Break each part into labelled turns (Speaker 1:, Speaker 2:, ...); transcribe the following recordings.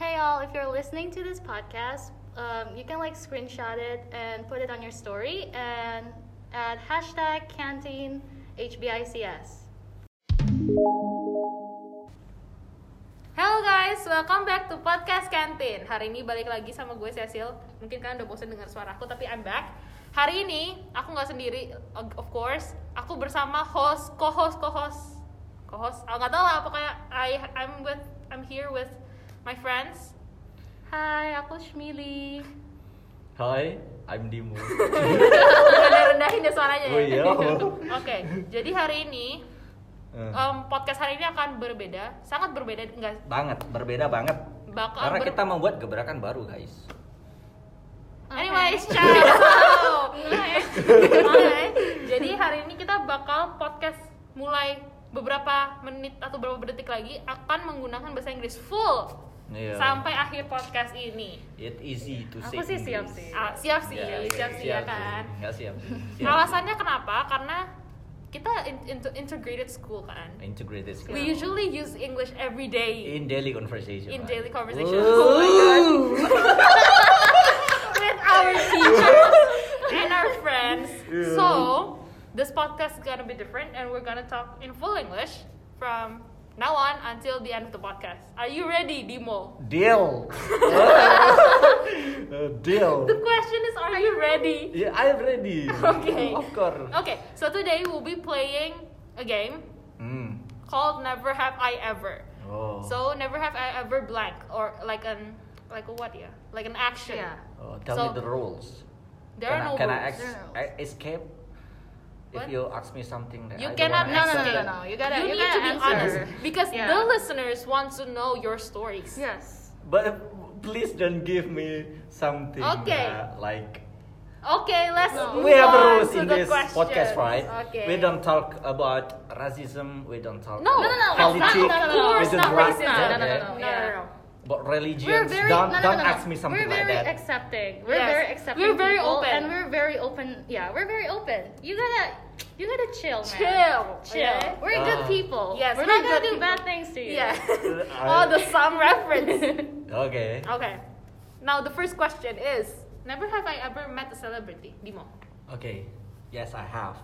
Speaker 1: Hey all, if you're listening to this podcast, um, you can like screenshot it and put it on your story and add hashtag canteen HBICS.
Speaker 2: Hello guys, welcome back to podcast Canteen. Hari ini balik lagi sama gue Cecil. Mungkin kalian udah bosen dengar suara aku, tapi I'm back. Hari ini aku nggak sendiri, of course. Aku bersama host, co-host, co-host, co-host. Ah nggak tahu lah, pokoknya I I'm with I'm here with my friends.
Speaker 1: Hai, aku Shmili.
Speaker 3: Hai, I'm Dimu.
Speaker 2: Rendah-rendahin deh suaranya ya.
Speaker 3: Oh, iya.
Speaker 2: Oke, jadi hari ini
Speaker 3: Eh,
Speaker 2: em, podcast hari ini akan berbeda, sangat berbeda enggak
Speaker 3: banget, berbeda banget.
Speaker 2: bakal
Speaker 3: Karena
Speaker 2: ber-
Speaker 3: kita membuat gebrakan baru, guys.
Speaker 2: Anyways, ciao. Iya. Oke, Jadi hari ini kita bakal podcast mulai beberapa menit atau beberapa detik lagi akan menggunakan bahasa Inggris full
Speaker 3: Iya.
Speaker 2: sampai akhir podcast ini.
Speaker 3: It easy to say.
Speaker 1: Aku sih siap sih.
Speaker 3: English.
Speaker 2: Ah, siap sih,
Speaker 3: Ya,
Speaker 2: siap sih Iya. ya kan.
Speaker 3: Nggak siap. sih. Siap.
Speaker 2: Alasannya kenapa? Karena kita in- into- integrated school kan.
Speaker 3: Integrated skill.
Speaker 2: We usually use English every day
Speaker 3: in daily conversation.
Speaker 2: in
Speaker 3: right?
Speaker 2: daily conversation.
Speaker 3: Woo!
Speaker 2: Oh my God. with our teachers and our friends.
Speaker 3: Yeah.
Speaker 2: So this podcast is gonna be different, and we're gonna talk in full English from now on until the end of the podcast. Are you ready, Dimo?
Speaker 3: Deal. Eh, Deal.
Speaker 2: The question is, are you ready?
Speaker 3: Yeah, I'm ready.
Speaker 2: Okay.
Speaker 3: Of course.
Speaker 2: Okay, so today we'll be playing a game
Speaker 3: Hmm.
Speaker 2: called Never Have I Ever.
Speaker 3: Oh.
Speaker 2: So Never Have I Ever blank or like an like a what yeah like an action.
Speaker 1: Yeah.
Speaker 3: Oh, tell
Speaker 2: So-
Speaker 3: me the rules.
Speaker 2: There
Speaker 3: can
Speaker 2: are
Speaker 3: I,
Speaker 2: no
Speaker 3: can I
Speaker 2: rules.
Speaker 3: ex-
Speaker 1: There are no
Speaker 3: I escape? If
Speaker 2: What?
Speaker 3: you ask me something that
Speaker 2: You
Speaker 3: I don't
Speaker 2: cannot-
Speaker 3: wanna
Speaker 1: No, no, no,
Speaker 3: accept.
Speaker 1: no, no. You gotta,
Speaker 2: you,
Speaker 1: you,
Speaker 2: need
Speaker 1: gotta
Speaker 2: to be
Speaker 1: answer.
Speaker 2: honest because
Speaker 1: Yeah.
Speaker 2: the listeners want to know your stories.
Speaker 1: Yes.
Speaker 3: But please don't give me something
Speaker 2: Okay.
Speaker 3: uh, like
Speaker 2: Okay, let's move
Speaker 3: we have
Speaker 2: on
Speaker 3: rules
Speaker 2: to
Speaker 3: in
Speaker 2: the
Speaker 3: this
Speaker 2: questions.
Speaker 3: podcast, right?
Speaker 2: Okay.
Speaker 3: We don't talk about racism. We don't talk.
Speaker 2: No, no, no,
Speaker 3: about
Speaker 2: no,
Speaker 1: it's not-
Speaker 3: politics,
Speaker 1: no, no, no,
Speaker 3: we
Speaker 1: no, it's
Speaker 3: don't
Speaker 1: not
Speaker 3: like
Speaker 1: racist,
Speaker 3: that,
Speaker 1: no, no, no,
Speaker 3: yeah.
Speaker 1: no.
Speaker 2: No, no, no.
Speaker 3: But religions, don't don't ask me something
Speaker 1: we're very
Speaker 3: like that.
Speaker 1: accepting. We're
Speaker 2: Yes.
Speaker 1: very accepting.
Speaker 2: We're very
Speaker 1: people,
Speaker 2: open.
Speaker 1: and we're very open. Yeah, we're very open. You gotta, you gotta chill, man.
Speaker 2: Chill.
Speaker 1: Chill.
Speaker 2: okay?
Speaker 1: We're good
Speaker 3: Ah.
Speaker 1: people.
Speaker 2: Yes,
Speaker 1: We're
Speaker 2: we're
Speaker 1: not gonna
Speaker 2: good
Speaker 1: do
Speaker 2: people.
Speaker 1: bad things to you.
Speaker 2: Yeah.
Speaker 3: I-
Speaker 2: oh, the song reference.
Speaker 3: okay.
Speaker 2: okay. Now the first question is: Never have I ever met a celebrity, Dimo.
Speaker 3: Okay. Yes, I have.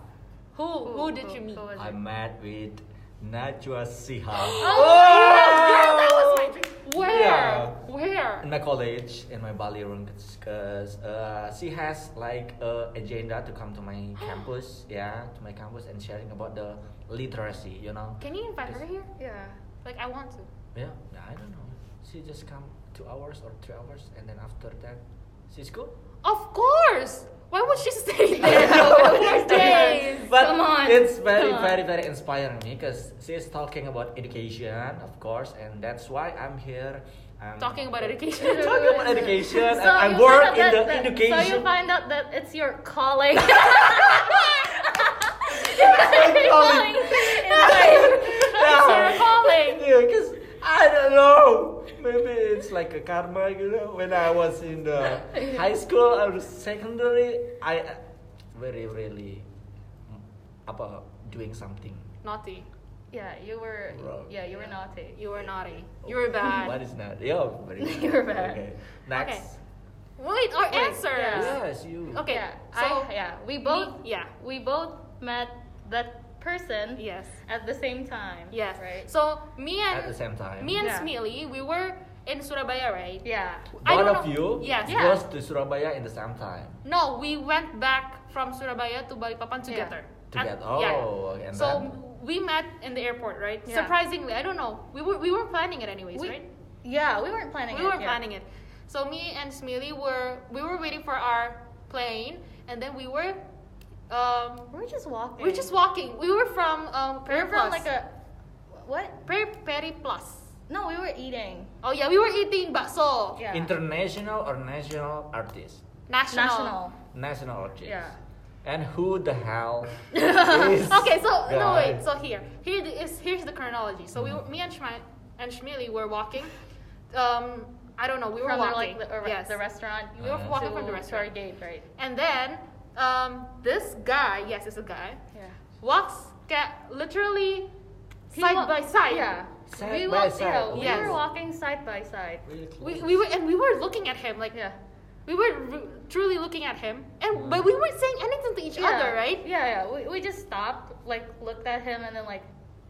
Speaker 2: Who? Who,
Speaker 1: Who-
Speaker 2: did
Speaker 1: who-
Speaker 2: you meet?
Speaker 1: who was
Speaker 3: I
Speaker 1: it?
Speaker 3: met with Najwa Sihab.
Speaker 2: Oh, yes, that was my dream. Where?
Speaker 3: Yeah.
Speaker 2: Where?
Speaker 3: in my college in my Bali room because uh, she has like a agenda to come to my campus yeah to my campus and sharing about the literacy you know
Speaker 2: Can you invite her here?
Speaker 1: Yeah.
Speaker 2: Like I want to.
Speaker 3: yeah yeah, I don't know she just come two hours or three hours and then after that she's good
Speaker 2: Of course. Why would she stay there? Four days.
Speaker 3: but
Speaker 1: Oh, come on,
Speaker 3: it's very
Speaker 1: come on.
Speaker 3: very very inspiring me because she's talking about education of course and that's why I'm here I'm
Speaker 2: Talking about education.
Speaker 3: talking about education and
Speaker 1: So
Speaker 3: I'm
Speaker 1: you
Speaker 3: work
Speaker 1: find
Speaker 3: in
Speaker 1: out
Speaker 3: the
Speaker 1: that- that-
Speaker 3: education
Speaker 1: So you find out that it's your calling.
Speaker 3: calling.
Speaker 2: That's your calling.
Speaker 3: Yeah, because I don't know. Maybe it's like a karma, you know. When I was in the high school or secondary, I uh, very really mm, apa doing something.
Speaker 2: Naughty.
Speaker 1: yeah, you were.
Speaker 3: Bro.
Speaker 1: Yeah, you were naughty.
Speaker 2: You were naughty. You were bad.
Speaker 3: Oh. What is that? Yeah, very bad.
Speaker 1: You're bad.
Speaker 3: Okay. Next.
Speaker 2: Wait, our answers.
Speaker 1: yeah.
Speaker 3: Yes, you.
Speaker 2: Okay,
Speaker 1: Yeah,
Speaker 2: so
Speaker 1: I, yeah, we both.
Speaker 2: yeah.
Speaker 1: We both met that person.
Speaker 2: Yes.
Speaker 1: At the same time.
Speaker 2: Yes.
Speaker 1: Right.
Speaker 2: So me and
Speaker 3: At the same time.
Speaker 2: me and
Speaker 1: Yeah.
Speaker 2: Smiley, we were in Surabaya, right?
Speaker 1: yeah.
Speaker 2: I
Speaker 3: One
Speaker 2: don't
Speaker 3: of
Speaker 2: know-
Speaker 3: you
Speaker 2: Yes.
Speaker 1: Yeah.
Speaker 3: goes to Surabaya in the same time.
Speaker 2: No, we went back from Surabaya to Balikpapan
Speaker 1: Yeah.
Speaker 2: together. At-
Speaker 3: Together. Oh,
Speaker 2: yeah.
Speaker 3: and
Speaker 2: So
Speaker 3: then-
Speaker 2: we met in the airport, right?
Speaker 1: Yeah.
Speaker 2: Surprisingly, I don't know. We were we were planning it anyways,
Speaker 1: We,
Speaker 2: right?
Speaker 1: yeah, we weren't planning it.
Speaker 2: we were
Speaker 1: yeah.
Speaker 2: planning it. So me and Smiley were we were waiting for our plane, and then we were um,
Speaker 1: We're just walking.
Speaker 2: we were just walking. We were from um,
Speaker 1: We
Speaker 2: Peri
Speaker 1: were from
Speaker 2: Plus.
Speaker 1: like a. What?
Speaker 2: Peri, Peri Plus.
Speaker 1: No, we were eating.
Speaker 2: Oh yeah, we were eating bakso.
Speaker 1: Yeah.
Speaker 3: International or national artist?
Speaker 2: National.
Speaker 1: National.
Speaker 3: National artist.
Speaker 1: Yeah.
Speaker 3: And who the hell is
Speaker 2: Okay, so no
Speaker 3: guy?
Speaker 2: wait. So here, here the- is here's the chronology. So we, were, me and Shmi and Shmili were walking. Um, I don't know. We were
Speaker 1: from the,
Speaker 2: walking.
Speaker 1: like the, or,
Speaker 2: yes.
Speaker 1: the restaurant.
Speaker 2: We were
Speaker 3: Uh-huh.
Speaker 2: walking
Speaker 1: to,
Speaker 2: from the
Speaker 1: to our
Speaker 2: restaurant.
Speaker 1: gate, right?
Speaker 2: And then um, this guy, yes, it's a guy.
Speaker 1: Yeah.
Speaker 2: walks get literally
Speaker 1: He
Speaker 2: side
Speaker 1: wa-
Speaker 2: by side
Speaker 1: yeah.
Speaker 3: Side
Speaker 1: we
Speaker 3: by
Speaker 1: walked
Speaker 3: side.
Speaker 1: yeah, we
Speaker 2: Yes.
Speaker 1: were walking side by side.
Speaker 3: Really close.
Speaker 2: we, we were and we were looking at him like
Speaker 1: Yeah.
Speaker 2: we were r- truly looking at him and but we weren't saying anything to each
Speaker 1: Yeah.
Speaker 2: other right
Speaker 1: Yeah, yeah. We, we just stopped, like looked at him, and then like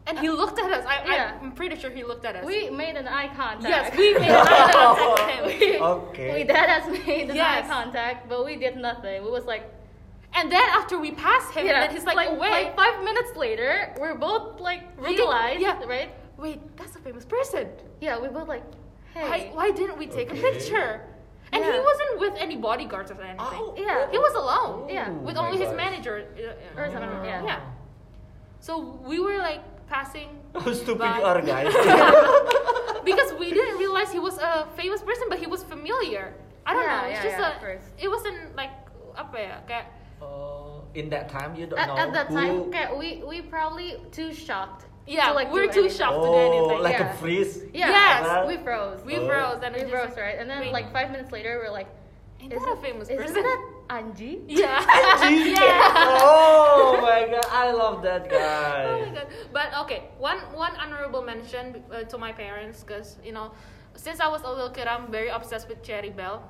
Speaker 2: and he looked at us I,
Speaker 1: Yeah.
Speaker 2: i'm pretty sure he looked at us
Speaker 1: we made an eye contact.
Speaker 2: yes we made eye contact with him
Speaker 1: we,
Speaker 3: Okay.
Speaker 1: we that has made an
Speaker 2: Yes.
Speaker 1: eye contact, but we did nothing. We was like,
Speaker 2: and then after we passed him and then he's like, away
Speaker 1: like five minutes later, we're both like
Speaker 2: Really?
Speaker 1: realized,
Speaker 2: Yeah.
Speaker 1: right?
Speaker 2: wait that's a famous person
Speaker 1: Yeah, we both like,
Speaker 2: why,
Speaker 1: hey,
Speaker 2: why didn't we take a
Speaker 3: Okay.
Speaker 2: picture and he
Speaker 1: Yeah.
Speaker 2: wasn't with any bodyguards or anything
Speaker 3: Oh,
Speaker 1: Yeah.
Speaker 2: he was alone
Speaker 1: Yeah.
Speaker 2: with
Speaker 3: my
Speaker 2: only his
Speaker 3: gosh.
Speaker 2: manager uh,
Speaker 1: Or
Speaker 2: uh,
Speaker 3: Uh-huh.
Speaker 1: something, yeah.
Speaker 2: yeah so we were like passing
Speaker 3: How stupid
Speaker 2: by.
Speaker 3: you are, guys.
Speaker 2: because we didn't realize he was a famous person, but he was familiar. I don't
Speaker 1: Yeah,
Speaker 2: know. It's
Speaker 1: yeah,
Speaker 2: just
Speaker 1: yeah,
Speaker 2: a.
Speaker 1: at first.
Speaker 2: It wasn't like apa ya kayak.
Speaker 3: Uh, in that time, you don't
Speaker 1: at,
Speaker 3: know
Speaker 1: at that
Speaker 3: who.
Speaker 1: time, okay, we we probably too shocked.
Speaker 2: Yeah,
Speaker 1: to, like,
Speaker 2: we're
Speaker 1: do
Speaker 2: too
Speaker 1: anything.
Speaker 2: shocked to do
Speaker 3: oh,
Speaker 2: anything.
Speaker 3: like
Speaker 1: yeah.
Speaker 3: a freeze.
Speaker 1: Yeah,
Speaker 2: Yes.
Speaker 1: we froze.
Speaker 2: We
Speaker 1: We,
Speaker 3: Oh.
Speaker 2: froze and we just
Speaker 1: froze,
Speaker 2: like,
Speaker 1: right? And then
Speaker 2: wait,
Speaker 1: like five minutes later, we're like,
Speaker 2: Ain't that a famous
Speaker 1: is
Speaker 2: person?
Speaker 1: that Angie?
Speaker 2: yeah.
Speaker 3: Gee. Oh my god, I love that guy.
Speaker 2: Oh my god. But okay, one one honorable mention uh, to my parents because you know, since I was a little kid, I'm very obsessed with Cherry Bell.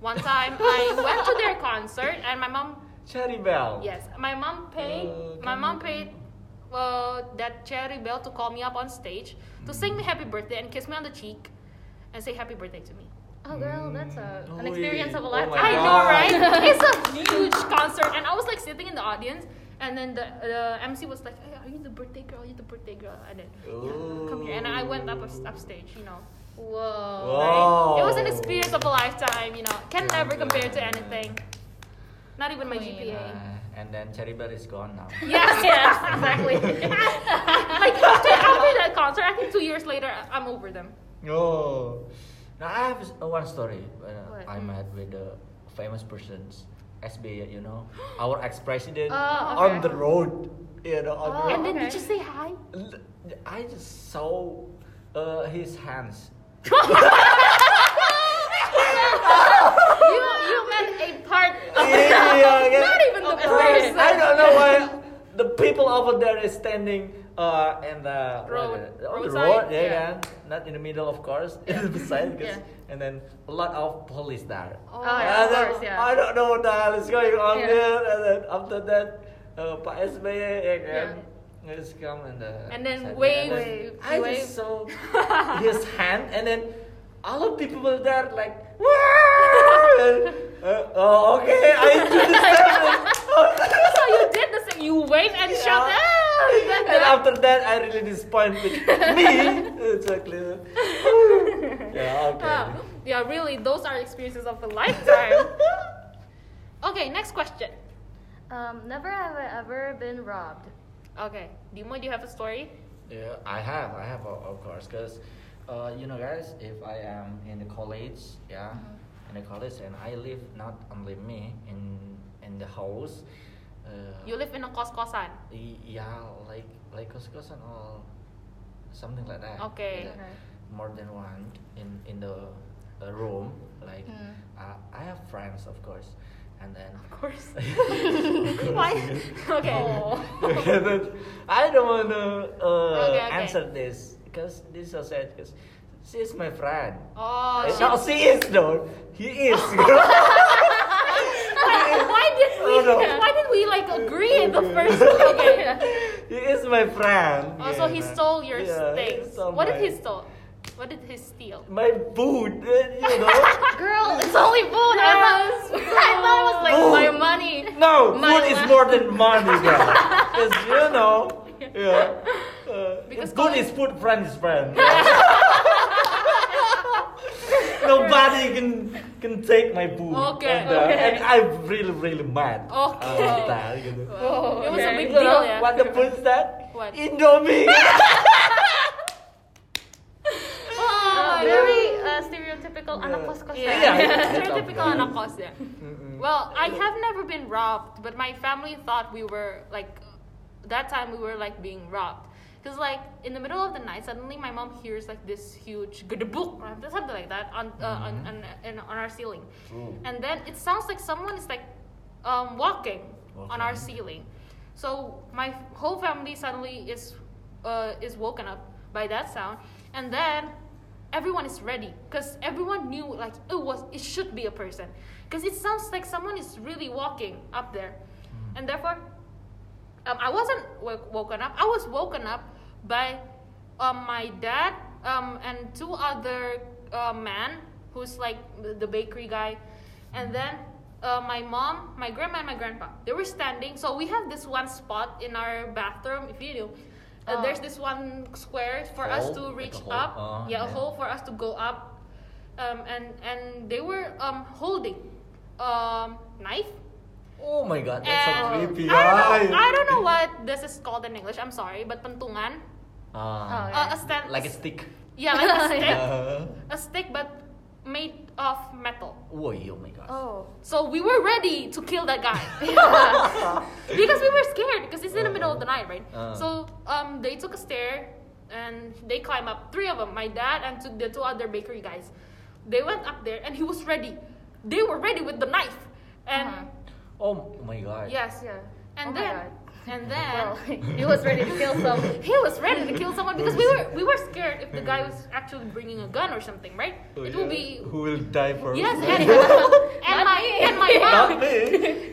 Speaker 2: One time I went to their concert and my mom
Speaker 3: Cherry Bell.
Speaker 2: Yes, my mom paid.
Speaker 3: Uh,
Speaker 2: my
Speaker 3: can
Speaker 2: mom
Speaker 3: you-
Speaker 2: paid uh, that Cherry Bell to call me up on stage to sing me happy birthday and kiss me on the cheek and say happy birthday to me.
Speaker 1: Oh, girl, that's a,
Speaker 3: Mm,
Speaker 1: an experience
Speaker 3: wait.
Speaker 1: of a
Speaker 3: Oh my
Speaker 1: lifetime.
Speaker 2: I know,
Speaker 3: God.
Speaker 2: right? it's a huge concert, and I was like sitting in the audience, and then the, the MC was like, hey, "Are you the birthday girl? Are you the birthday girl?" And then "Yeah, come here, and I went up
Speaker 3: Ooh.
Speaker 2: upstage, you know.
Speaker 1: Whoa.
Speaker 2: Like, it was an
Speaker 3: Wow.
Speaker 2: experience of a lifetime, you know. Can
Speaker 3: Yeah,
Speaker 2: never compare to
Speaker 3: yeah.
Speaker 2: anything. Not even my
Speaker 1: Queen.
Speaker 2: GPA.
Speaker 3: Uh, and then Cherry Bell is gone now.
Speaker 2: Yes,
Speaker 1: yes, exactly.
Speaker 2: like after, after that concert, I think two years later, I- I'm over them.
Speaker 3: No. Oh. Now I have uh, one story. When
Speaker 1: What?
Speaker 3: I met with the famous persons, SB, you know, our ex-president
Speaker 1: Oh,
Speaker 3: on
Speaker 1: okay.
Speaker 3: the road. You know, on
Speaker 1: Oh,
Speaker 3: the
Speaker 2: and
Speaker 3: road.
Speaker 2: then
Speaker 1: okay.
Speaker 2: did you say hi?
Speaker 3: L- I just saw uh, his hands.
Speaker 1: you, you met a part of
Speaker 3: Yeah, yeah.
Speaker 2: Not even the
Speaker 1: Okay.
Speaker 2: person.
Speaker 3: I don't know why the people over there is standing uh and the
Speaker 2: Road.
Speaker 3: the, on the
Speaker 2: Roadside,
Speaker 3: road, yeah,
Speaker 1: yeah.
Speaker 3: Kan? not in the middle of course, in the side, 'cause-
Speaker 1: Yeah.
Speaker 3: and then a lot of police there.
Speaker 1: Oh, yeah, of
Speaker 3: And then,
Speaker 1: course, yeah.
Speaker 3: I don't know what the hell is going on
Speaker 1: Yeah.
Speaker 3: there, and then after that, uh, Pak SBY yeah, kan?
Speaker 1: Yeah.
Speaker 3: Just come and uh,
Speaker 2: And then
Speaker 3: sat there,
Speaker 2: wave,
Speaker 3: and
Speaker 2: wave,
Speaker 3: I
Speaker 2: wave.
Speaker 3: just saw his hand, and then all of people were there like. "Wah!" and, uh, oh, okay. I do the same.
Speaker 2: So you did the same. You wave and shout.
Speaker 3: Yeah.
Speaker 2: Ah, you did
Speaker 3: and
Speaker 2: that.
Speaker 3: after that, I really disappointed with me. exactly. yeah. Okay.
Speaker 2: Wow. Yeah, really, those are experiences of a lifetime. okay, next question.
Speaker 1: Um, never have I ever been robbed.
Speaker 2: Okay, Dimo, do you have a story?
Speaker 3: Yeah, I have, I have of of course, because uh, you know, guys, if I am in the college, yeah,
Speaker 2: Mm-hmm.
Speaker 3: in the college, and I live not only me in in the house. Uh,
Speaker 2: You live in a kos-kosan.
Speaker 3: y- yeah, like like kos kosan or something like that.
Speaker 2: Okay.
Speaker 3: Yeah.
Speaker 1: Okay.
Speaker 3: More than one in in the uh, room, like
Speaker 1: Mm.
Speaker 3: uh, I have friends, of course, and then.
Speaker 2: Of course.
Speaker 3: Of course.
Speaker 2: Why? Okay.
Speaker 1: Oh.
Speaker 3: Okay, but I don't want to uh,
Speaker 2: Okay, okay.
Speaker 3: answer this because this is so sad because she's my friend.
Speaker 2: Oh,
Speaker 3: Eh,
Speaker 2: she-
Speaker 3: no, she is though. He is.
Speaker 2: why, why did we?
Speaker 3: Oh, no.
Speaker 2: Why did we like agree in the first? Okay.
Speaker 3: he is my friend.
Speaker 2: Oh, so he
Speaker 3: Yeah.
Speaker 2: stole your
Speaker 3: Yeah, he
Speaker 2: things.
Speaker 3: stole
Speaker 2: What did
Speaker 3: my-
Speaker 2: he steal? What did he steal?
Speaker 3: My food, eh, you know.
Speaker 1: Girl, it's only food. I, thought, I thought it was like
Speaker 3: Food.
Speaker 1: my money.
Speaker 3: no,
Speaker 1: My
Speaker 3: food
Speaker 1: la-
Speaker 3: is more than money, girl. Because you know, yeah. Uh,
Speaker 2: Because
Speaker 3: food
Speaker 2: college-
Speaker 3: is food, friend is friend. Nobody can can take my food.
Speaker 2: Okay,
Speaker 3: and, uh,
Speaker 2: okay.
Speaker 3: and I'm really really mad.
Speaker 2: Okay.
Speaker 3: about that, you know.
Speaker 1: Oh,
Speaker 2: it was a
Speaker 1: okay.
Speaker 2: big
Speaker 3: You know
Speaker 2: deal, yeah.
Speaker 3: What the food is that?
Speaker 2: What?
Speaker 3: Indomie.
Speaker 2: Oh,
Speaker 1: very uh, stereotypical
Speaker 3: Yeah.
Speaker 1: anak kos-kosan.
Speaker 2: Yeah,
Speaker 3: Yeah.
Speaker 2: stereotypical
Speaker 3: Mm-hmm.
Speaker 2: anak kos ya.
Speaker 3: Mm-mm.
Speaker 2: Well, I have never been robbed, but my family thought we were like, that time we were like being robbed. Cause like in the middle of the night, suddenly my mom hears like this huge gedebuk or something like that on uh,
Speaker 3: Mm-hmm.
Speaker 2: on, on, on on our ceiling,
Speaker 3: Ooh.
Speaker 2: and then it sounds like someone is like um, walking, on our
Speaker 3: Walking.
Speaker 2: ceiling. So my whole family suddenly is uh, is woken up by that sound and then everyone is ready because everyone knew like it was it should be a person because it sounds like someone is really walking up there and therefore um, I wasn't w- woken up. I was woken up by um, my dad um, and two other uh, man who's like the- the bakery guy, and then uh, my mom, my grandma, and my grandpa. They were standing. So we have this one spot in our bathroom. If you do,
Speaker 1: Oh.
Speaker 2: uh, there's this one square for us
Speaker 3: Hole?
Speaker 2: to
Speaker 3: Like
Speaker 2: reach
Speaker 3: a hole?
Speaker 2: up.
Speaker 3: Oh,
Speaker 2: yeah, a
Speaker 3: yeah.
Speaker 2: hole for us to go up. Um, and and they were um, holding um, knife
Speaker 3: Oh my god, that's so
Speaker 2: and Eh, I
Speaker 3: creepy.
Speaker 2: don't know.
Speaker 3: Ay.
Speaker 2: I don't know what this is called in English. I'm sorry, but pentungan.
Speaker 3: Ah,
Speaker 1: Oh,
Speaker 2: Uh, a stand.
Speaker 3: like a stick.
Speaker 2: yeah, like a stick. A
Speaker 3: Uh,
Speaker 2: stick, but made of metal.
Speaker 3: oh, oh my god.
Speaker 1: Oh.
Speaker 2: So we were ready to kill that guy because we were scared because it's in the middle of the night, right?
Speaker 3: Uh.
Speaker 2: So um, they took a stair and they climbed up. Three of them, my dad and two, the two other bakery guys. They went up there and he was ready. They were ready with the knife and
Speaker 3: Oh my god.
Speaker 2: yes,
Speaker 1: Yeah.
Speaker 2: and
Speaker 1: Oh my
Speaker 2: then
Speaker 1: God.
Speaker 2: and then.
Speaker 1: Well, he was ready to kill some.
Speaker 2: he was ready to kill someone because we were we were scared if the guy was actually bringing a gun or something, right?
Speaker 3: Oh,
Speaker 2: it will
Speaker 3: yeah.
Speaker 2: be
Speaker 3: Who will die first?
Speaker 2: yes, and, and my and my
Speaker 3: Not
Speaker 2: mom
Speaker 3: me.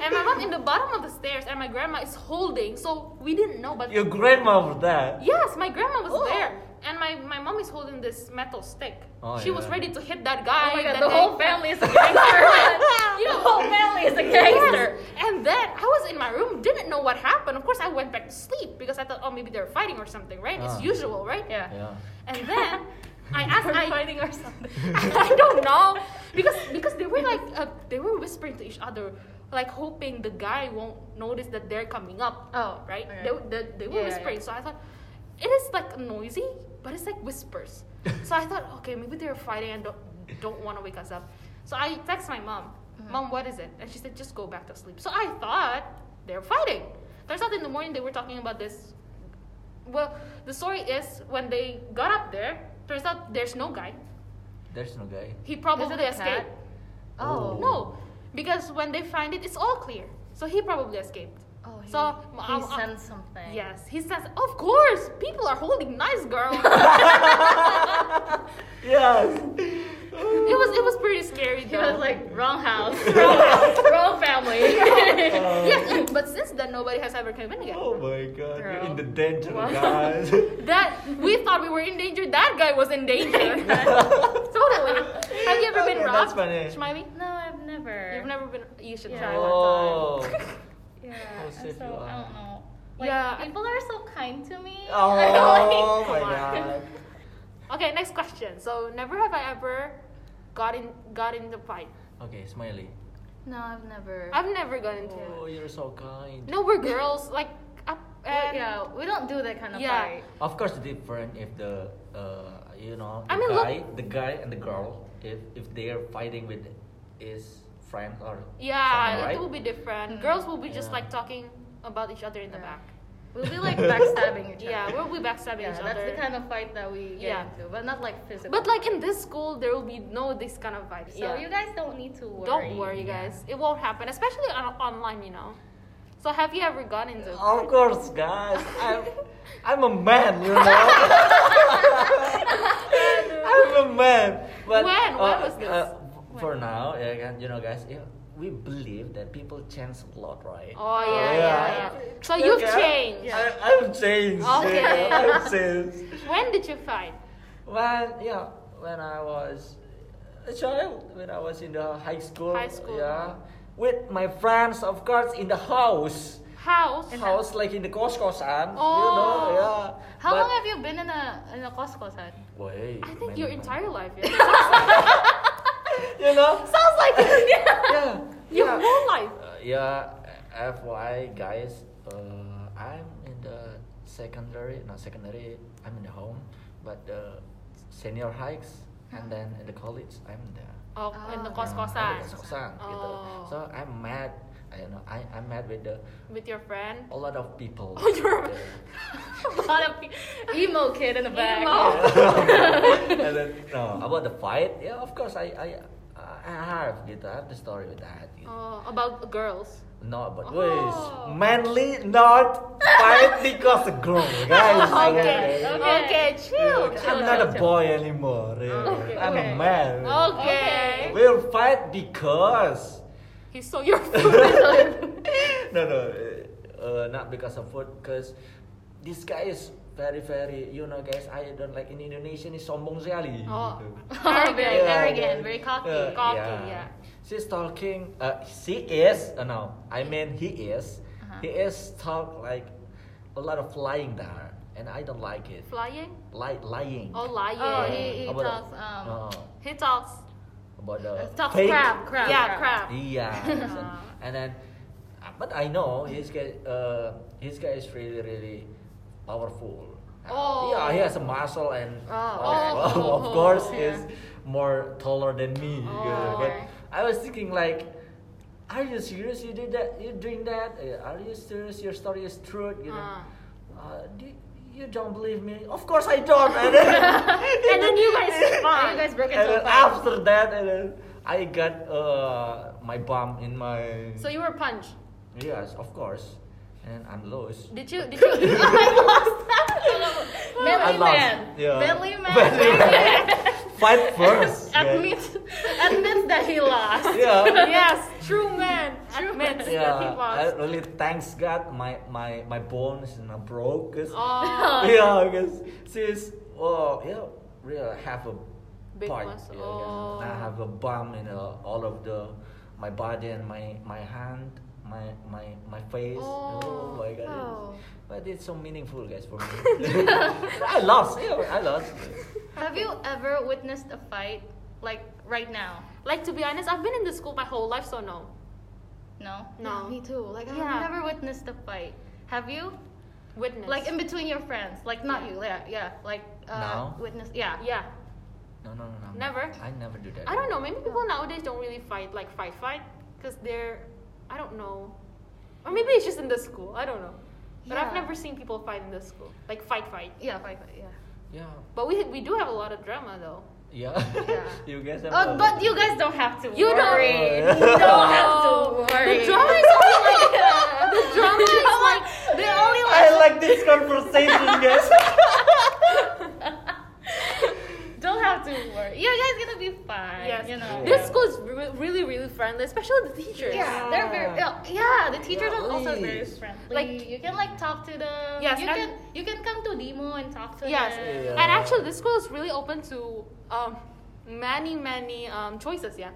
Speaker 2: and my mom in the bottom of the stairs and my grandma is holding, so we didn't know, but
Speaker 3: Your grandma for that.
Speaker 2: yes, my grandma was
Speaker 1: Oh.
Speaker 2: there. And my, my mom is holding this metal stick.
Speaker 3: Oh,
Speaker 2: she was
Speaker 3: yeah.
Speaker 2: ready to hit that
Speaker 1: Oh
Speaker 2: guy.
Speaker 1: my god,
Speaker 2: that
Speaker 1: the
Speaker 2: guy-
Speaker 1: whole family is a gangster.
Speaker 2: You
Speaker 1: the
Speaker 2: know,
Speaker 1: whole family is a
Speaker 2: Yes.
Speaker 1: gangster.
Speaker 2: And then I was in my room, didn't know what happened. Of course, I went back to sleep because I thought, oh, maybe they're fighting or something, right?
Speaker 3: Ah.
Speaker 2: It's usual, right?
Speaker 1: Yeah.
Speaker 3: Yeah.
Speaker 2: And then I asked,
Speaker 1: We're
Speaker 2: I,
Speaker 1: fighting or something.
Speaker 2: I don't know because because they were like uh, they were whispering to each other, like hoping the guy won't notice that they're coming up,
Speaker 1: Oh,
Speaker 2: right?
Speaker 1: okay.
Speaker 2: They, they, they
Speaker 1: Yeah,
Speaker 2: were
Speaker 1: yeah,
Speaker 2: whispering,
Speaker 1: yeah.
Speaker 2: so I thought it is like noisy, but it's like whispers. so I thought, okay, maybe they're fighting and don't don't want to wake us up. So I text my mom,
Speaker 1: Mm-hmm.
Speaker 2: mom, what is it? And she said, just go back to sleep. So I thought they're fighting. Turns out in the morning they were talking about this well, the story is when they got up there, turns out there's no guy.
Speaker 3: There's no guy.
Speaker 2: He probably
Speaker 1: Is it a
Speaker 2: escaped.
Speaker 1: Oh.
Speaker 2: No, because when they find it, it's all clear. So he probably escaped.
Speaker 1: Oh, he,
Speaker 2: So,
Speaker 1: he
Speaker 2: um, uh,
Speaker 1: sent something.
Speaker 2: Yes, he says, of course, people are holding nice girl. it
Speaker 3: Yes.
Speaker 2: was it was pretty scary
Speaker 1: He
Speaker 2: though.
Speaker 1: was like, wrong house, wrong house, wrong family.
Speaker 2: yes,
Speaker 3: Uh.
Speaker 2: but since then nobody has ever come in again.
Speaker 3: Oh my god. You're
Speaker 1: Girl.
Speaker 3: in the danger,
Speaker 1: Wow.
Speaker 3: guys.
Speaker 2: That we thought we were in danger. That guy was in danger. totally. Have you ever been
Speaker 3: Okay,
Speaker 2: robbed,
Speaker 3: that's funny.
Speaker 2: Smiley?
Speaker 1: no, I've never.
Speaker 2: You've never been. You should
Speaker 1: Yeah.
Speaker 2: try one
Speaker 3: Oh.
Speaker 2: time.
Speaker 1: Yeah.
Speaker 3: How
Speaker 1: and
Speaker 3: safe
Speaker 1: so,
Speaker 3: you
Speaker 1: I
Speaker 3: are.
Speaker 1: don't know. Like,
Speaker 2: Yeah, I-
Speaker 1: People are so kind to me.
Speaker 3: Oh my
Speaker 2: Come on.
Speaker 3: god.
Speaker 2: Okay, next question. So, never have I ever got in got into fight.
Speaker 3: Okay, smiley.
Speaker 1: no, I've never.
Speaker 2: I've never got into.
Speaker 3: Oh, you're so kind.
Speaker 2: No, we're girls. Like up
Speaker 1: We-
Speaker 2: and
Speaker 1: yeah, we don't do that kind of
Speaker 2: Yeah.
Speaker 1: fight.
Speaker 3: Of course, different if the uh, you know the
Speaker 2: I mean, look-
Speaker 3: guy, the guy and the girl, if if they are fighting with his friend or
Speaker 2: yeah,
Speaker 3: someone,
Speaker 2: it
Speaker 3: right?
Speaker 2: will be
Speaker 1: Mm.
Speaker 2: different. Girls will be just
Speaker 3: Yeah.
Speaker 2: like talking about each other in the
Speaker 1: Yeah.
Speaker 2: back.
Speaker 1: We'll be like backstabbing each other.
Speaker 2: Yeah, we'll be backstabbing
Speaker 1: Yeah,
Speaker 2: each
Speaker 1: that's
Speaker 2: other.
Speaker 1: the kind of fight that we get
Speaker 2: Yeah.
Speaker 1: into, but not like physical.
Speaker 2: but like in this school, there will be no this kind of vibe.
Speaker 1: so
Speaker 2: yeah.
Speaker 1: you guys don't need to worry.
Speaker 2: Don't worry, guys. It won't happen, especially on online. You know. So have you ever gone into?
Speaker 3: Of course, guys. I'm I'm a man, you know. I'm a man. But uh,
Speaker 2: When? When was this?
Speaker 3: for now, yeah, can- you know, guys. Yeah, we believe that people change a lot, right?
Speaker 2: Oh yeah,
Speaker 1: Yeah.
Speaker 2: yeah, yeah. So you've
Speaker 3: Okay.
Speaker 2: changed.
Speaker 1: Yeah.
Speaker 3: I, I've changed.
Speaker 2: Okay.
Speaker 3: yeah, I've changed.
Speaker 2: When did you fight?
Speaker 3: When yeah, when I was a child, when I was in the high school,
Speaker 2: High school,
Speaker 3: yeah, with my friends, of course, in the house,
Speaker 2: House.
Speaker 3: house like in the kos kosan, you know,
Speaker 2: Oh.
Speaker 3: yeah.
Speaker 1: How
Speaker 3: But-
Speaker 1: long have you been in a in a Costco son?
Speaker 3: Wait,
Speaker 2: I think
Speaker 3: many
Speaker 2: your
Speaker 3: times.
Speaker 2: entire life. Yeah.
Speaker 3: You know,
Speaker 2: Sounds like yeah.
Speaker 3: yeah,
Speaker 2: your
Speaker 3: yeah,
Speaker 2: whole life.
Speaker 3: Uh, yeah. FY guys, uh, I'm in the secondary, not secondary. I'm in the home, but the senior hikes and then in the college, I'm there.
Speaker 2: Oh, in the
Speaker 1: Oh.
Speaker 2: kos
Speaker 3: Ah,
Speaker 2: kosan.
Speaker 3: ada kos-kosan, gitu.
Speaker 2: Oh.
Speaker 3: So I'm mad, I know, I I'm mad with the
Speaker 2: With your friend.
Speaker 3: a lot of people.
Speaker 2: Oh, you're-
Speaker 1: A lot of pe- emo kid in the back.
Speaker 2: Emo.
Speaker 3: And then, no, about the fight, yeah, of course I I I have gitu, I have the story with that. Gitu.
Speaker 2: Oh, about girls.
Speaker 3: No, but
Speaker 2: Oh.
Speaker 3: wait, manly not fight because a girl, guys.
Speaker 2: Okay,
Speaker 1: Okay.
Speaker 2: okay, chill,
Speaker 1: Okay.
Speaker 2: chill.
Speaker 3: I'm not a
Speaker 2: chill,
Speaker 3: boy anymore. really.
Speaker 2: Okay,
Speaker 3: I'm
Speaker 2: okay.
Speaker 3: a man.
Speaker 2: chill. Okay.
Speaker 3: We'll fight because.
Speaker 2: He stole your food.
Speaker 3: no, no, uh, uh, not because of food. Because this guy is very, very. You know, guys, I don't like in Indonesian is sombong sekali.
Speaker 2: Oh.
Speaker 3: gitu.
Speaker 1: Very
Speaker 2: Yeah,
Speaker 1: arrogant, very cocky.
Speaker 3: Uh,
Speaker 2: Cocky, yeah.
Speaker 3: She's talking. Uh, she is. Uh, no, I mean he is.
Speaker 1: Uh-huh.
Speaker 3: He is talk like a lot of lying there, and I don't like it.
Speaker 2: Flying?
Speaker 3: Lie, lying.
Speaker 2: Oh, lying.
Speaker 1: Oh,
Speaker 3: Yeah,
Speaker 1: he- he
Speaker 3: about-
Speaker 1: talks, um,
Speaker 3: uh,
Speaker 2: He talks.
Speaker 3: about the
Speaker 1: Talks
Speaker 3: fake-
Speaker 1: crap, crap.
Speaker 2: yeah, crap.
Speaker 3: Yeah. and then, uh, but I know his guy. Uh, his guy is really, really powerful.
Speaker 2: Oh.
Speaker 3: Yeah, he has a muscle and
Speaker 1: Oh,
Speaker 3: of,
Speaker 2: oh,
Speaker 3: of course
Speaker 1: yeah.
Speaker 3: is more taller than me.
Speaker 2: Oh,
Speaker 3: you know, But
Speaker 1: okay.
Speaker 3: I was thinking like. Are you serious? You did that? You doing that? Uh, Are you serious? Your story is true. You know, uh, do, you don't believe me? Of course I don't. And then,
Speaker 2: And then you guys
Speaker 1: And you
Speaker 2: fought.
Speaker 1: guys broke
Speaker 3: and
Speaker 1: into a
Speaker 3: then
Speaker 1: fight.
Speaker 3: after that, and then I got uh, my bum in my.
Speaker 2: So you were punched.
Speaker 3: yes, of course, and I'm lost.
Speaker 2: Did you? Did you?
Speaker 1: Manly
Speaker 3: I lost.
Speaker 1: man.
Speaker 3: Yeah.
Speaker 1: Manly man.
Speaker 3: Manly man. Fight first. yeah.
Speaker 1: Admit, admit that he lost.
Speaker 3: Yeah.
Speaker 2: yes, true man. True man.
Speaker 3: Yeah,
Speaker 2: He was.
Speaker 3: I really thanks God my my my bones and I broke. 'cause-
Speaker 2: Oh.
Speaker 3: Yeah, because she's oh yeah, really have a
Speaker 2: Big
Speaker 3: part.
Speaker 2: muscle.
Speaker 3: yeah, yeah. I
Speaker 2: Oh.
Speaker 3: have a bump in uh, all of the my body and my my hand, my my my face.
Speaker 2: Oh.
Speaker 3: my God,
Speaker 1: Wow.
Speaker 3: it's- but it's so meaningful, guys, for me. I lost. Yeah, I lost.
Speaker 1: Have you ever witnessed a fight like right now?
Speaker 2: Like to be honest, I've been in this school my whole life, so no.
Speaker 1: No. Yeah,
Speaker 2: No.
Speaker 1: me too. Like
Speaker 2: Yeah.
Speaker 1: I've never witnessed a fight. Have you?
Speaker 2: Witness.
Speaker 1: Like in between your friends? Like not you? Yeah, yeah. Like uh,
Speaker 3: Now?
Speaker 1: witness? Yeah.
Speaker 2: yeah.
Speaker 3: No, no, no, no.
Speaker 2: Never?
Speaker 3: I never do that.
Speaker 2: I don't know. Maybe people nowadays don't really fight like fight fight because they're I don't know, or maybe it's just in the school. I don't know. But I've
Speaker 1: Yeah.
Speaker 2: never seen people fight in the school like fight fight.
Speaker 1: Yeah. Fight. fight yeah.
Speaker 3: Yeah,
Speaker 2: But we we do have a lot of drama though.
Speaker 3: yeah.
Speaker 1: Yeah.
Speaker 3: you guys have.
Speaker 1: Oh,
Speaker 3: a-
Speaker 1: but you guys don't have to
Speaker 2: You don't-
Speaker 1: worry.
Speaker 3: Oh, yeah.
Speaker 1: You don't have to worry.
Speaker 2: The drama is only like the drama is like
Speaker 1: they only like
Speaker 3: I like this conversation, guys.
Speaker 1: don't have to worry. You guys gonna be fine.
Speaker 2: yes.
Speaker 1: You know.
Speaker 2: This school is re- really really friendly, especially the teachers.
Speaker 1: Yeah, they're very yeah. yeah, the teachers
Speaker 3: Yeah,
Speaker 1: are also very
Speaker 3: please.
Speaker 1: friendly.
Speaker 2: Like-
Speaker 1: Like you can like talk to them.
Speaker 2: Yes,
Speaker 1: you
Speaker 2: and-
Speaker 1: can you can come to demo and talk to
Speaker 2: Yes.
Speaker 1: them.
Speaker 3: Yeah.
Speaker 2: And actually, this school is really open to um, many, many um, choices. Yeah.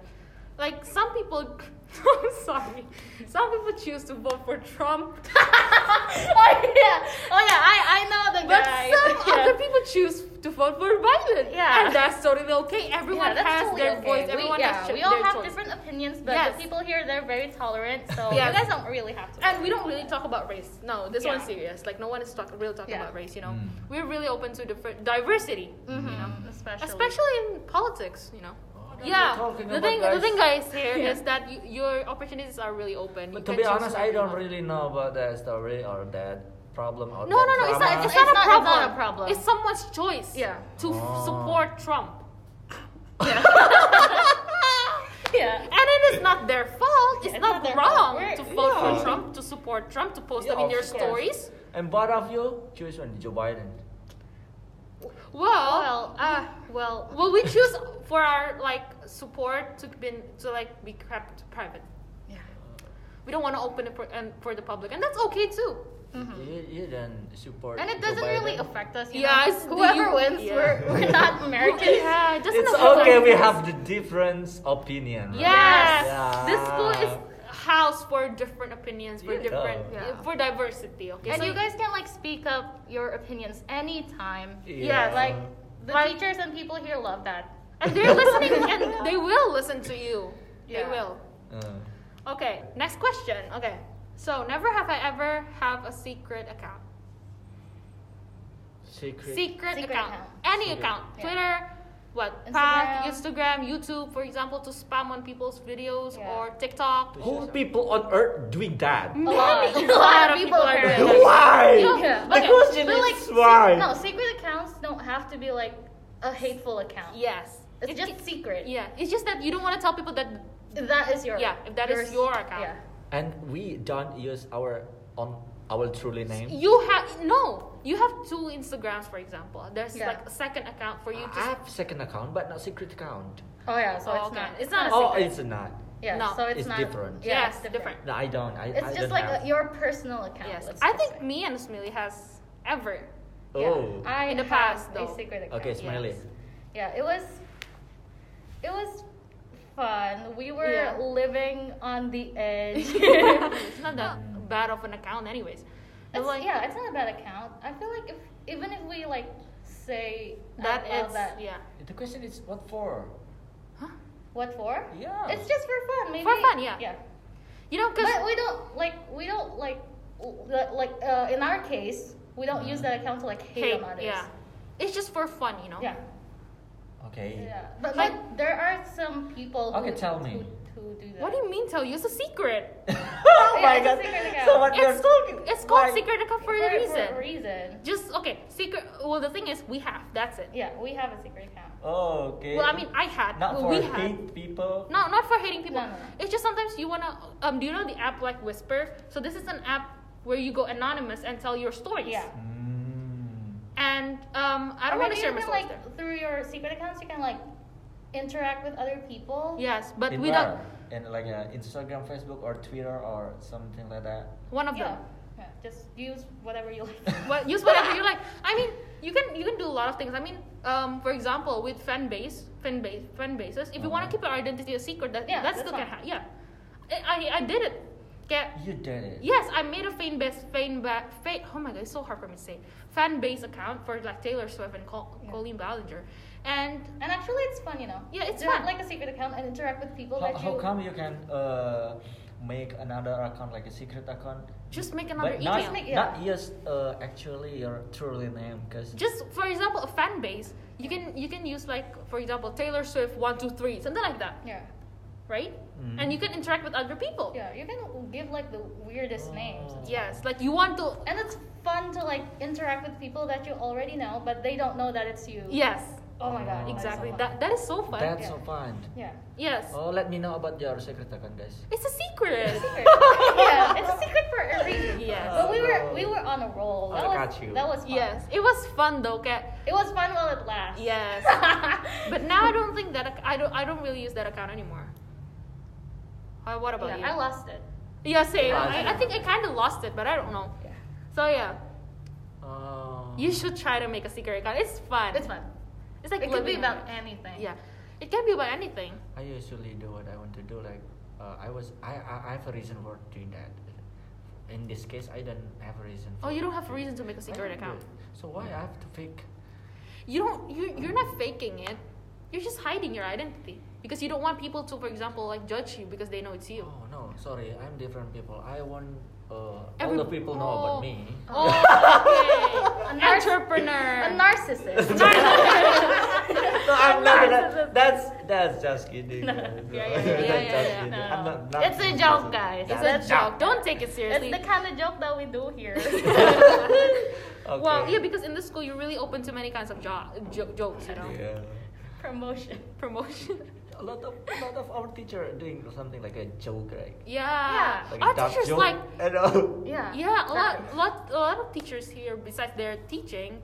Speaker 2: Like some people, I'm sorry, some people choose to vote for Trump,
Speaker 1: oh yeah, oh yeah. I I know the
Speaker 2: but
Speaker 1: guy.
Speaker 2: some
Speaker 1: yeah.
Speaker 2: other people choose to vote for Biden.
Speaker 1: Yeah.
Speaker 2: And that's totally okay.
Speaker 1: Yeah,
Speaker 2: Everyone
Speaker 1: that's
Speaker 2: has
Speaker 1: totally
Speaker 2: their
Speaker 1: okay.
Speaker 2: voice.
Speaker 1: We-
Speaker 2: Everyone
Speaker 1: yeah,
Speaker 2: has cho-
Speaker 1: we all
Speaker 2: their
Speaker 1: have
Speaker 2: choice.
Speaker 1: different opinions, but
Speaker 2: Yes.
Speaker 1: the people here they're very tolerant, so
Speaker 2: Yes.
Speaker 1: you guys don't really have to.
Speaker 2: And we don't really talk about race. No, this
Speaker 1: Yeah.
Speaker 2: one's serious. Like no one is talk- really talking
Speaker 1: Yeah.
Speaker 2: about race. You know,
Speaker 3: Mm.
Speaker 2: we're really open to different diversity,
Speaker 1: mm-hmm, especially.
Speaker 2: especially in politics. You know.
Speaker 3: Oh, that's what
Speaker 2: Yeah,
Speaker 3: we're talking
Speaker 2: the
Speaker 3: about,
Speaker 2: thing, the thing, guys, here is that you, your opportunities are really open. You
Speaker 3: But to
Speaker 2: can
Speaker 3: be
Speaker 2: choose
Speaker 3: honest, I
Speaker 2: whatever you
Speaker 3: don't
Speaker 2: want.
Speaker 3: really know about that story or that problem or
Speaker 2: No,
Speaker 3: that
Speaker 2: no, no. It's
Speaker 3: drama.
Speaker 2: not. It's,
Speaker 1: It's
Speaker 2: not,
Speaker 1: not-
Speaker 2: a
Speaker 1: it's
Speaker 2: problem.
Speaker 1: not a problem.
Speaker 2: It's someone's choice.
Speaker 1: Yeah.
Speaker 2: To f-
Speaker 3: Oh.
Speaker 2: support Trump,
Speaker 1: yeah.
Speaker 2: and it is not their fault. It's,
Speaker 1: it's
Speaker 2: not,
Speaker 1: not their
Speaker 2: wrong
Speaker 1: fault. We're-
Speaker 2: to vote for
Speaker 3: Yeah.
Speaker 2: Trump, to support Trump, to post them
Speaker 3: Yeah,
Speaker 2: in your
Speaker 3: of course.
Speaker 2: stories.
Speaker 3: And both of you choose one, Joe Biden.
Speaker 2: Well,
Speaker 1: Well, ah, well.
Speaker 2: well, we choose for our like support to be to like be kept private.
Speaker 1: Yeah.
Speaker 2: We don't want to open it for, and for the public, and that's okay too.
Speaker 3: You, you don't support.
Speaker 1: Mm-hmm. And it
Speaker 3: Joe
Speaker 1: doesn't really
Speaker 3: Biden.
Speaker 1: affect us. You
Speaker 2: Yeah,
Speaker 1: know?
Speaker 2: it's the
Speaker 1: whoever
Speaker 2: U-
Speaker 1: wins,
Speaker 2: yeah.
Speaker 1: we're we're not Americans.
Speaker 2: Yeah, it doesn't
Speaker 3: It's
Speaker 2: affect
Speaker 3: okay.
Speaker 2: us.
Speaker 3: We have the different opinion. right?
Speaker 2: Yes.
Speaker 3: Yeah.
Speaker 2: This school is a house for different opinions, for
Speaker 3: Yeah.
Speaker 2: different eh,
Speaker 1: Yeah.
Speaker 2: for diversity. Okay.
Speaker 1: and
Speaker 2: so
Speaker 1: you guys can like speak up your opinions anytime. Yeah,
Speaker 3: Yeah.
Speaker 1: like the
Speaker 2: Like-
Speaker 1: teachers and people here love that.
Speaker 2: and they're listening and they will listen to you. They
Speaker 1: Yeah.
Speaker 2: will.
Speaker 3: Uh,
Speaker 2: Okay. Next question. Okay. So never have I ever have a secret account.
Speaker 3: secret.
Speaker 2: Secret,
Speaker 1: Secret
Speaker 2: account.
Speaker 1: account.
Speaker 2: Any
Speaker 3: Secret.
Speaker 2: account.
Speaker 1: Yeah.
Speaker 2: Twitter, what?
Speaker 1: Instagram.
Speaker 2: Path, Instagram, YouTube, for example, to spam on people's videos
Speaker 1: Yeah.
Speaker 2: or TikTok.
Speaker 3: Who people on earth doing that?
Speaker 1: A
Speaker 2: Many-
Speaker 1: lot, a lot of people are doing that.
Speaker 3: Why?
Speaker 1: Mm. Yeah.
Speaker 3: The
Speaker 1: Okay,
Speaker 3: question
Speaker 1: but,
Speaker 3: is
Speaker 1: like, se-
Speaker 3: why.
Speaker 1: No, secret accounts don't have to be like a hateful account.
Speaker 2: Yes.
Speaker 1: It's
Speaker 2: It-
Speaker 1: just secret.
Speaker 2: yeah. It's just that you don't want to tell people that
Speaker 1: That is your
Speaker 2: Yeah, if that
Speaker 1: your s-
Speaker 2: is your account.
Speaker 1: Yeah.
Speaker 3: and we don't use our on our truly name.
Speaker 2: You have no. You have two Instagrams, for example. There's
Speaker 1: Yeah.
Speaker 2: like a second account for you to.
Speaker 3: I have second account, but not secret account.
Speaker 1: Oh yeah, so
Speaker 2: Oh,
Speaker 1: it's
Speaker 2: okay.
Speaker 1: not.
Speaker 2: It's not a
Speaker 3: oh,
Speaker 2: secret.
Speaker 3: it's not.
Speaker 1: Yeah,
Speaker 2: No.
Speaker 1: so it's,
Speaker 3: It's
Speaker 1: not.
Speaker 3: different.
Speaker 1: Yeah,
Speaker 2: Yes,
Speaker 1: it's different.
Speaker 3: No, I don't. I, I
Speaker 1: It's just
Speaker 3: don't
Speaker 1: like a-
Speaker 3: have.
Speaker 1: your personal account.
Speaker 2: yes.
Speaker 1: let's
Speaker 2: I
Speaker 1: just
Speaker 2: think
Speaker 1: say.
Speaker 2: me and Smiley has ever.
Speaker 1: Yeah.
Speaker 3: Oh.
Speaker 1: I
Speaker 2: In the
Speaker 1: have
Speaker 2: past,
Speaker 1: a
Speaker 2: though.
Speaker 1: secret account.
Speaker 3: okay, Smiley.
Speaker 2: Yes.
Speaker 1: Yeah, it was it was fun. We were
Speaker 2: Yeah.
Speaker 1: living on the edge.
Speaker 2: it's not that bad of an account, anyways. But
Speaker 1: It's-
Speaker 2: like,
Speaker 1: yeah, it's not a bad account. I feel like if even if we like say
Speaker 2: that
Speaker 1: out loud
Speaker 2: it's
Speaker 1: that
Speaker 2: yeah.
Speaker 3: The question is what for?
Speaker 2: Huh?
Speaker 1: what for?
Speaker 3: Yeah.
Speaker 1: It's just for fun, maybe.
Speaker 2: Oh. fun, yeah.
Speaker 1: Yeah.
Speaker 2: You know, because
Speaker 1: But we don't like we don't like l- li- like uh, in our case we don't use that account to like hate, on others.
Speaker 2: yeah, it's just for fun, you know.
Speaker 1: Yeah.
Speaker 3: Okay.
Speaker 1: Yeah. But
Speaker 2: Like-
Speaker 1: like there are some people
Speaker 3: Okay,
Speaker 1: who,
Speaker 3: tell me.
Speaker 1: who, who do that.
Speaker 2: What do you mean? Tell you? It's a secret.
Speaker 3: oh my
Speaker 1: it's a
Speaker 3: god.
Speaker 1: secret account.
Speaker 3: So what
Speaker 2: It's,
Speaker 3: they're talking?
Speaker 2: it's called
Speaker 3: like-
Speaker 2: secret account for a reason.
Speaker 1: For a reason.
Speaker 2: Just okay, secret. Well, the thing is, we have. That's it.
Speaker 1: Yeah, we have a secret account.
Speaker 3: Oh, okay.
Speaker 2: Well, I mean, I had.
Speaker 3: not
Speaker 2: well, we
Speaker 3: for
Speaker 2: had.
Speaker 3: hate people.
Speaker 2: No, not for hating people.
Speaker 1: No, no, no.
Speaker 2: It's just sometimes you wanna. Um, do you know the app like Whisper? So this is an app where you go anonymous and tell your stories.
Speaker 1: Yeah.
Speaker 3: Mm.
Speaker 2: And um, I don't
Speaker 1: Or
Speaker 2: want
Speaker 1: maybe
Speaker 2: to share
Speaker 1: you can,
Speaker 2: my stories
Speaker 1: like
Speaker 2: there.
Speaker 1: through your secret accounts, you can like interact with other people.
Speaker 2: Yes, but
Speaker 3: In
Speaker 2: we don't.
Speaker 3: where? In like uh, Instagram, Facebook, or Twitter, or something like that.
Speaker 2: One of
Speaker 1: Yeah.
Speaker 2: them.
Speaker 1: yeah. Just use whatever you like.
Speaker 2: What, use whatever you like. I mean, you can you can do a lot of things. I mean, um, for example, with fan base, fan base, fan bases. If you want to
Speaker 3: Mhm.
Speaker 2: keep your identity a secret, that
Speaker 1: Yeah,
Speaker 2: that
Speaker 1: that's
Speaker 2: still can
Speaker 1: fine.
Speaker 2: happen. Yeah, I, I I did it. Get
Speaker 3: You did it.
Speaker 2: Yes, I made a fan base, fan ba- fa- Oh my god, it's so hard for me to say. Fan base account for like Taylor Swift and Col-
Speaker 1: Yeah.
Speaker 2: Colleen Ballinger, and
Speaker 1: And actually, it's fun, you know.
Speaker 2: Yeah, it's
Speaker 1: to have,
Speaker 2: fun.
Speaker 1: like a secret account and interact with people
Speaker 3: How,
Speaker 1: that
Speaker 3: how
Speaker 1: you.
Speaker 3: come you can uh, make another account like a secret account?
Speaker 2: just make another
Speaker 3: but
Speaker 2: email.
Speaker 3: not,
Speaker 1: Just make-
Speaker 3: not
Speaker 1: yeah.
Speaker 3: use uh, actually your truly name because
Speaker 2: just for example, a fan base. You can you can use like for example Taylor Swift one two three something like that,
Speaker 1: Yeah,
Speaker 2: right?
Speaker 3: Mhm.
Speaker 2: And you can interact with other people.
Speaker 1: yeah. You can give like the weirdest names,
Speaker 3: Oh.
Speaker 2: Yes, like you want to.
Speaker 1: and it's fun to like interact with people that you already know, but they don't know that it's you.
Speaker 2: Yes,
Speaker 1: Oh my god. that is so
Speaker 2: exactly.
Speaker 1: fun.
Speaker 2: That that is so fun.
Speaker 3: that's
Speaker 1: yeah.
Speaker 3: so fun.
Speaker 1: Yeah.
Speaker 2: yes,
Speaker 3: Oh, let me know about your secret account, guys.
Speaker 2: it's a secret.
Speaker 1: Secret. yeah, it's a secret for a reason.
Speaker 2: Yes.
Speaker 1: But we were we were on a roll. That
Speaker 3: Oh, I
Speaker 1: was
Speaker 3: got you.
Speaker 1: that was fun.
Speaker 2: yes, it was fun though. Kat.
Speaker 1: It was fun while it lasts.
Speaker 2: Yes. but now I don't think that ac- I don't I don't really use that account anymore. Uh, what about
Speaker 1: Yeah, I
Speaker 2: you?
Speaker 1: lost it.
Speaker 2: yeah, same.
Speaker 3: Lost
Speaker 2: I,
Speaker 3: it.
Speaker 2: I think I kind of lost it, but I don't know.
Speaker 1: Yeah.
Speaker 2: So yeah,
Speaker 3: Oh.
Speaker 2: you should try to make a secret account. It's fun.
Speaker 1: It's fun.
Speaker 2: It's like
Speaker 1: it could be
Speaker 2: living on
Speaker 1: about anything.
Speaker 2: it. yeah, it can be about anything.
Speaker 3: I usually do what I want to do. Like uh, I was, I, I, I have a reason for doing that. In this case, I don't have a reason.
Speaker 2: Oh,
Speaker 3: For
Speaker 2: you don't have a reason to make a secret account.
Speaker 3: So why I have to fake?
Speaker 2: You don't. You you're not faking it. You're just hiding your identity because you don't want people to, for example, like judge you because they know it's you.
Speaker 3: Oh no, sorry, I'm different people. I want uh,
Speaker 2: Every-
Speaker 3: all the people know
Speaker 2: Oh.
Speaker 3: about me.
Speaker 2: Oh, okay.
Speaker 1: A narc-
Speaker 2: Entrepreneur.
Speaker 1: A narcissist.
Speaker 3: no, I'm not. That, that's that's just kidding.
Speaker 1: No.
Speaker 3: guys.
Speaker 1: Yeah, yeah,
Speaker 3: That's
Speaker 2: yeah, yeah,
Speaker 3: just
Speaker 2: yeah.
Speaker 3: kidding.
Speaker 1: No.
Speaker 3: I'm not- not
Speaker 2: It's a
Speaker 3: being
Speaker 2: joke,
Speaker 3: racist.
Speaker 2: guys. It's
Speaker 3: That's
Speaker 2: a joke. Don't take it seriously.
Speaker 1: it's the kind of joke that we do here.
Speaker 3: Okay.
Speaker 2: Well, yeah, because in the school you're really open to many kinds of jo- jo- jokes, you know.
Speaker 3: Yeah.
Speaker 1: Promotion.
Speaker 2: Promotion.
Speaker 3: A lot of a lot of our teacher doing something like a joke, right?
Speaker 2: Yeah.
Speaker 1: Yeah.
Speaker 3: Like
Speaker 2: Our
Speaker 3: a dark
Speaker 2: teachers
Speaker 3: joke.
Speaker 2: like
Speaker 3: I know.
Speaker 1: Yeah.
Speaker 2: yeah, a lot, lot, a lot of teachers here besides their teaching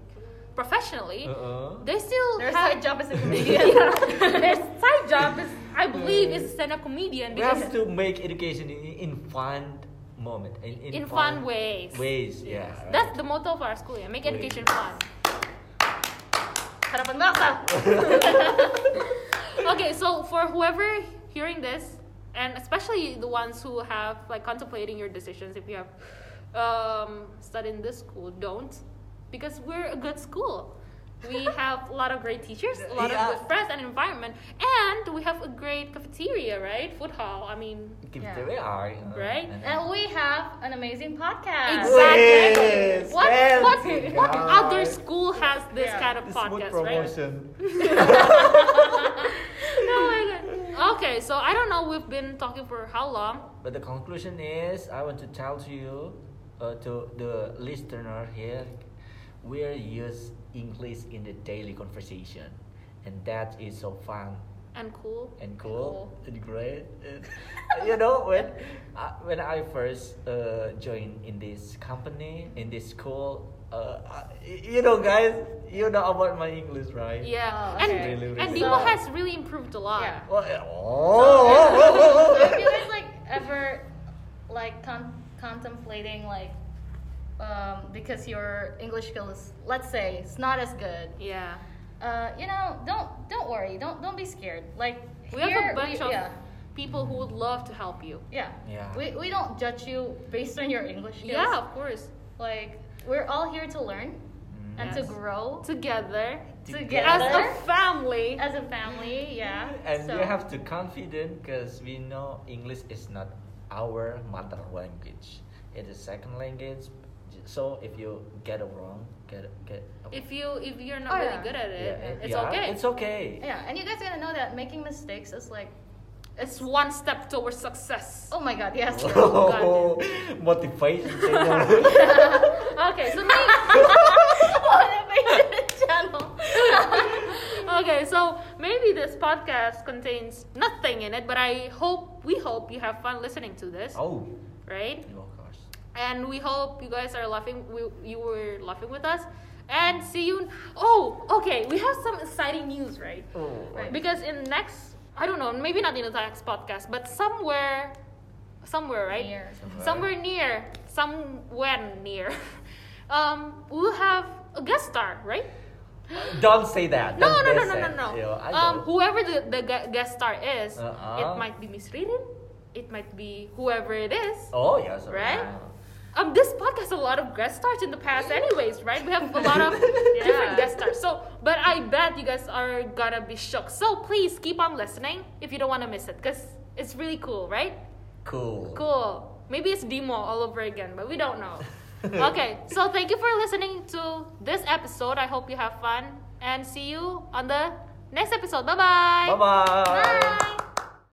Speaker 2: professionally,
Speaker 3: Uh-uh.
Speaker 2: they still
Speaker 1: Their
Speaker 2: have
Speaker 1: side job is a comedian.
Speaker 2: Yeah. their side job is I believe is stand-up comedian
Speaker 3: We have
Speaker 2: because
Speaker 3: to make education in, in fun moment. In, in,
Speaker 2: in fun ways.
Speaker 3: Ways, yeah. right.
Speaker 2: That's the motto of our school. Yeah, make
Speaker 3: Ways.
Speaker 2: education fun.
Speaker 1: Harapan bangsa.
Speaker 2: okay, so for whoever hearing this, and especially the ones who have like contemplating your decisions, if you have um, studied in this school, don't, because we're a good school. We have a lot of great teachers, a lot
Speaker 3: Yeah.
Speaker 2: of good friends and environment, and we have a great cafeteria, right? Food hall. I mean,
Speaker 3: Give
Speaker 1: Yeah.
Speaker 3: the way are. you know,
Speaker 2: Right?
Speaker 3: and then-
Speaker 1: And we have an amazing podcast.
Speaker 2: Exactly.
Speaker 3: Yes,
Speaker 2: what what,
Speaker 3: fancy,
Speaker 2: what
Speaker 3: guys.
Speaker 2: other school has this
Speaker 1: Yeah.
Speaker 2: kind of podcast, right? oh my god. Okay, so I don't know. We've been talking for how long?
Speaker 3: But the conclusion is, I want to tell to you, uh, to the listener here, we use English in the daily conversation, and that is so fun
Speaker 2: and cool
Speaker 3: and cool and great. And, you know when I, when I first uh, joined in this company in this school, uh, I- you know guys, you know about my English, right?
Speaker 2: yeah
Speaker 1: Oh,
Speaker 2: and
Speaker 1: okay.
Speaker 3: Really,
Speaker 2: and
Speaker 3: really
Speaker 2: Dimo
Speaker 1: good.
Speaker 2: has really improved a lot
Speaker 1: Yeah.
Speaker 3: Well, eh, oh,
Speaker 1: So if you guys like ever like con- contemplating like um, because your English skills, let's say, it's not as good.
Speaker 2: yeah
Speaker 1: Uh, you know, don't don't worry. Don't don't be scared. Like
Speaker 2: we
Speaker 1: here,
Speaker 2: have a bunch
Speaker 1: we-
Speaker 2: of
Speaker 1: yeah
Speaker 2: people who would love to help you
Speaker 1: yeah.
Speaker 3: Yeah.
Speaker 1: We we don't judge you based on your English skills.
Speaker 2: yeah of course
Speaker 1: Like we're all here to learn and to
Speaker 2: Yes.
Speaker 1: grow
Speaker 2: together as
Speaker 1: together
Speaker 2: a family
Speaker 1: as a family. Yeah.
Speaker 3: and
Speaker 1: so,
Speaker 3: you have to confident because we know English is not our mother language. It is second language. So if you get it wrong, get get.
Speaker 2: if you if you're not
Speaker 1: Oh,
Speaker 2: really
Speaker 1: yeah.
Speaker 2: good at it
Speaker 3: Yeah,
Speaker 2: it's
Speaker 3: yeah,
Speaker 2: okay
Speaker 3: It's okay.
Speaker 1: yeah. And you guys gotta know that making mistakes is like
Speaker 2: it's one step towards success
Speaker 1: oh my god yes.
Speaker 3: Wow, motivation channel.
Speaker 2: okay so next
Speaker 1: Oh, motivation channel.
Speaker 2: okay, so maybe this podcast contains nothing in it, but I hope we hope you have fun listening to this,
Speaker 3: oh,
Speaker 2: right?
Speaker 3: of course.
Speaker 2: And we hope you guys are laughing. We, you were laughing with us, and see you. Oh, okay, we have some exciting news, right?
Speaker 3: Oh,
Speaker 1: Right.
Speaker 2: Because in next, I don't know, maybe not in the next podcast, but somewhere, somewhere, right?
Speaker 1: Near.
Speaker 3: Somewhere.
Speaker 2: Somewhere near, somewhere near. um, we'll have a guest star, right?
Speaker 3: don't say that.
Speaker 2: No,
Speaker 3: Don't
Speaker 2: no, no,
Speaker 3: say
Speaker 2: no, no,
Speaker 3: that.
Speaker 2: no.
Speaker 3: Yo, I
Speaker 2: um,
Speaker 3: don't-
Speaker 2: whoever the, the gu- guest star is,
Speaker 3: Uh-uh.
Speaker 2: it might be Miss Ririn, it might be whoever it is.
Speaker 3: oh yes.
Speaker 2: Right? Um, this podcast has a lot of guest stars in the past, anyways, right? We have a lot of different
Speaker 1: Yeah.
Speaker 2: guest stars. So, but I bet you guys are gonna be shocked. So please keep on listening if you don't want to miss it, cause it's really cool, right?
Speaker 3: Cool.
Speaker 2: Cool. Maybe it's Demo all over again, but we don't know. okay, so thank you for listening to this episode. I hope you have fun and see you on the next episode. Bye-bye.
Speaker 3: Bye-bye.
Speaker 2: Bye.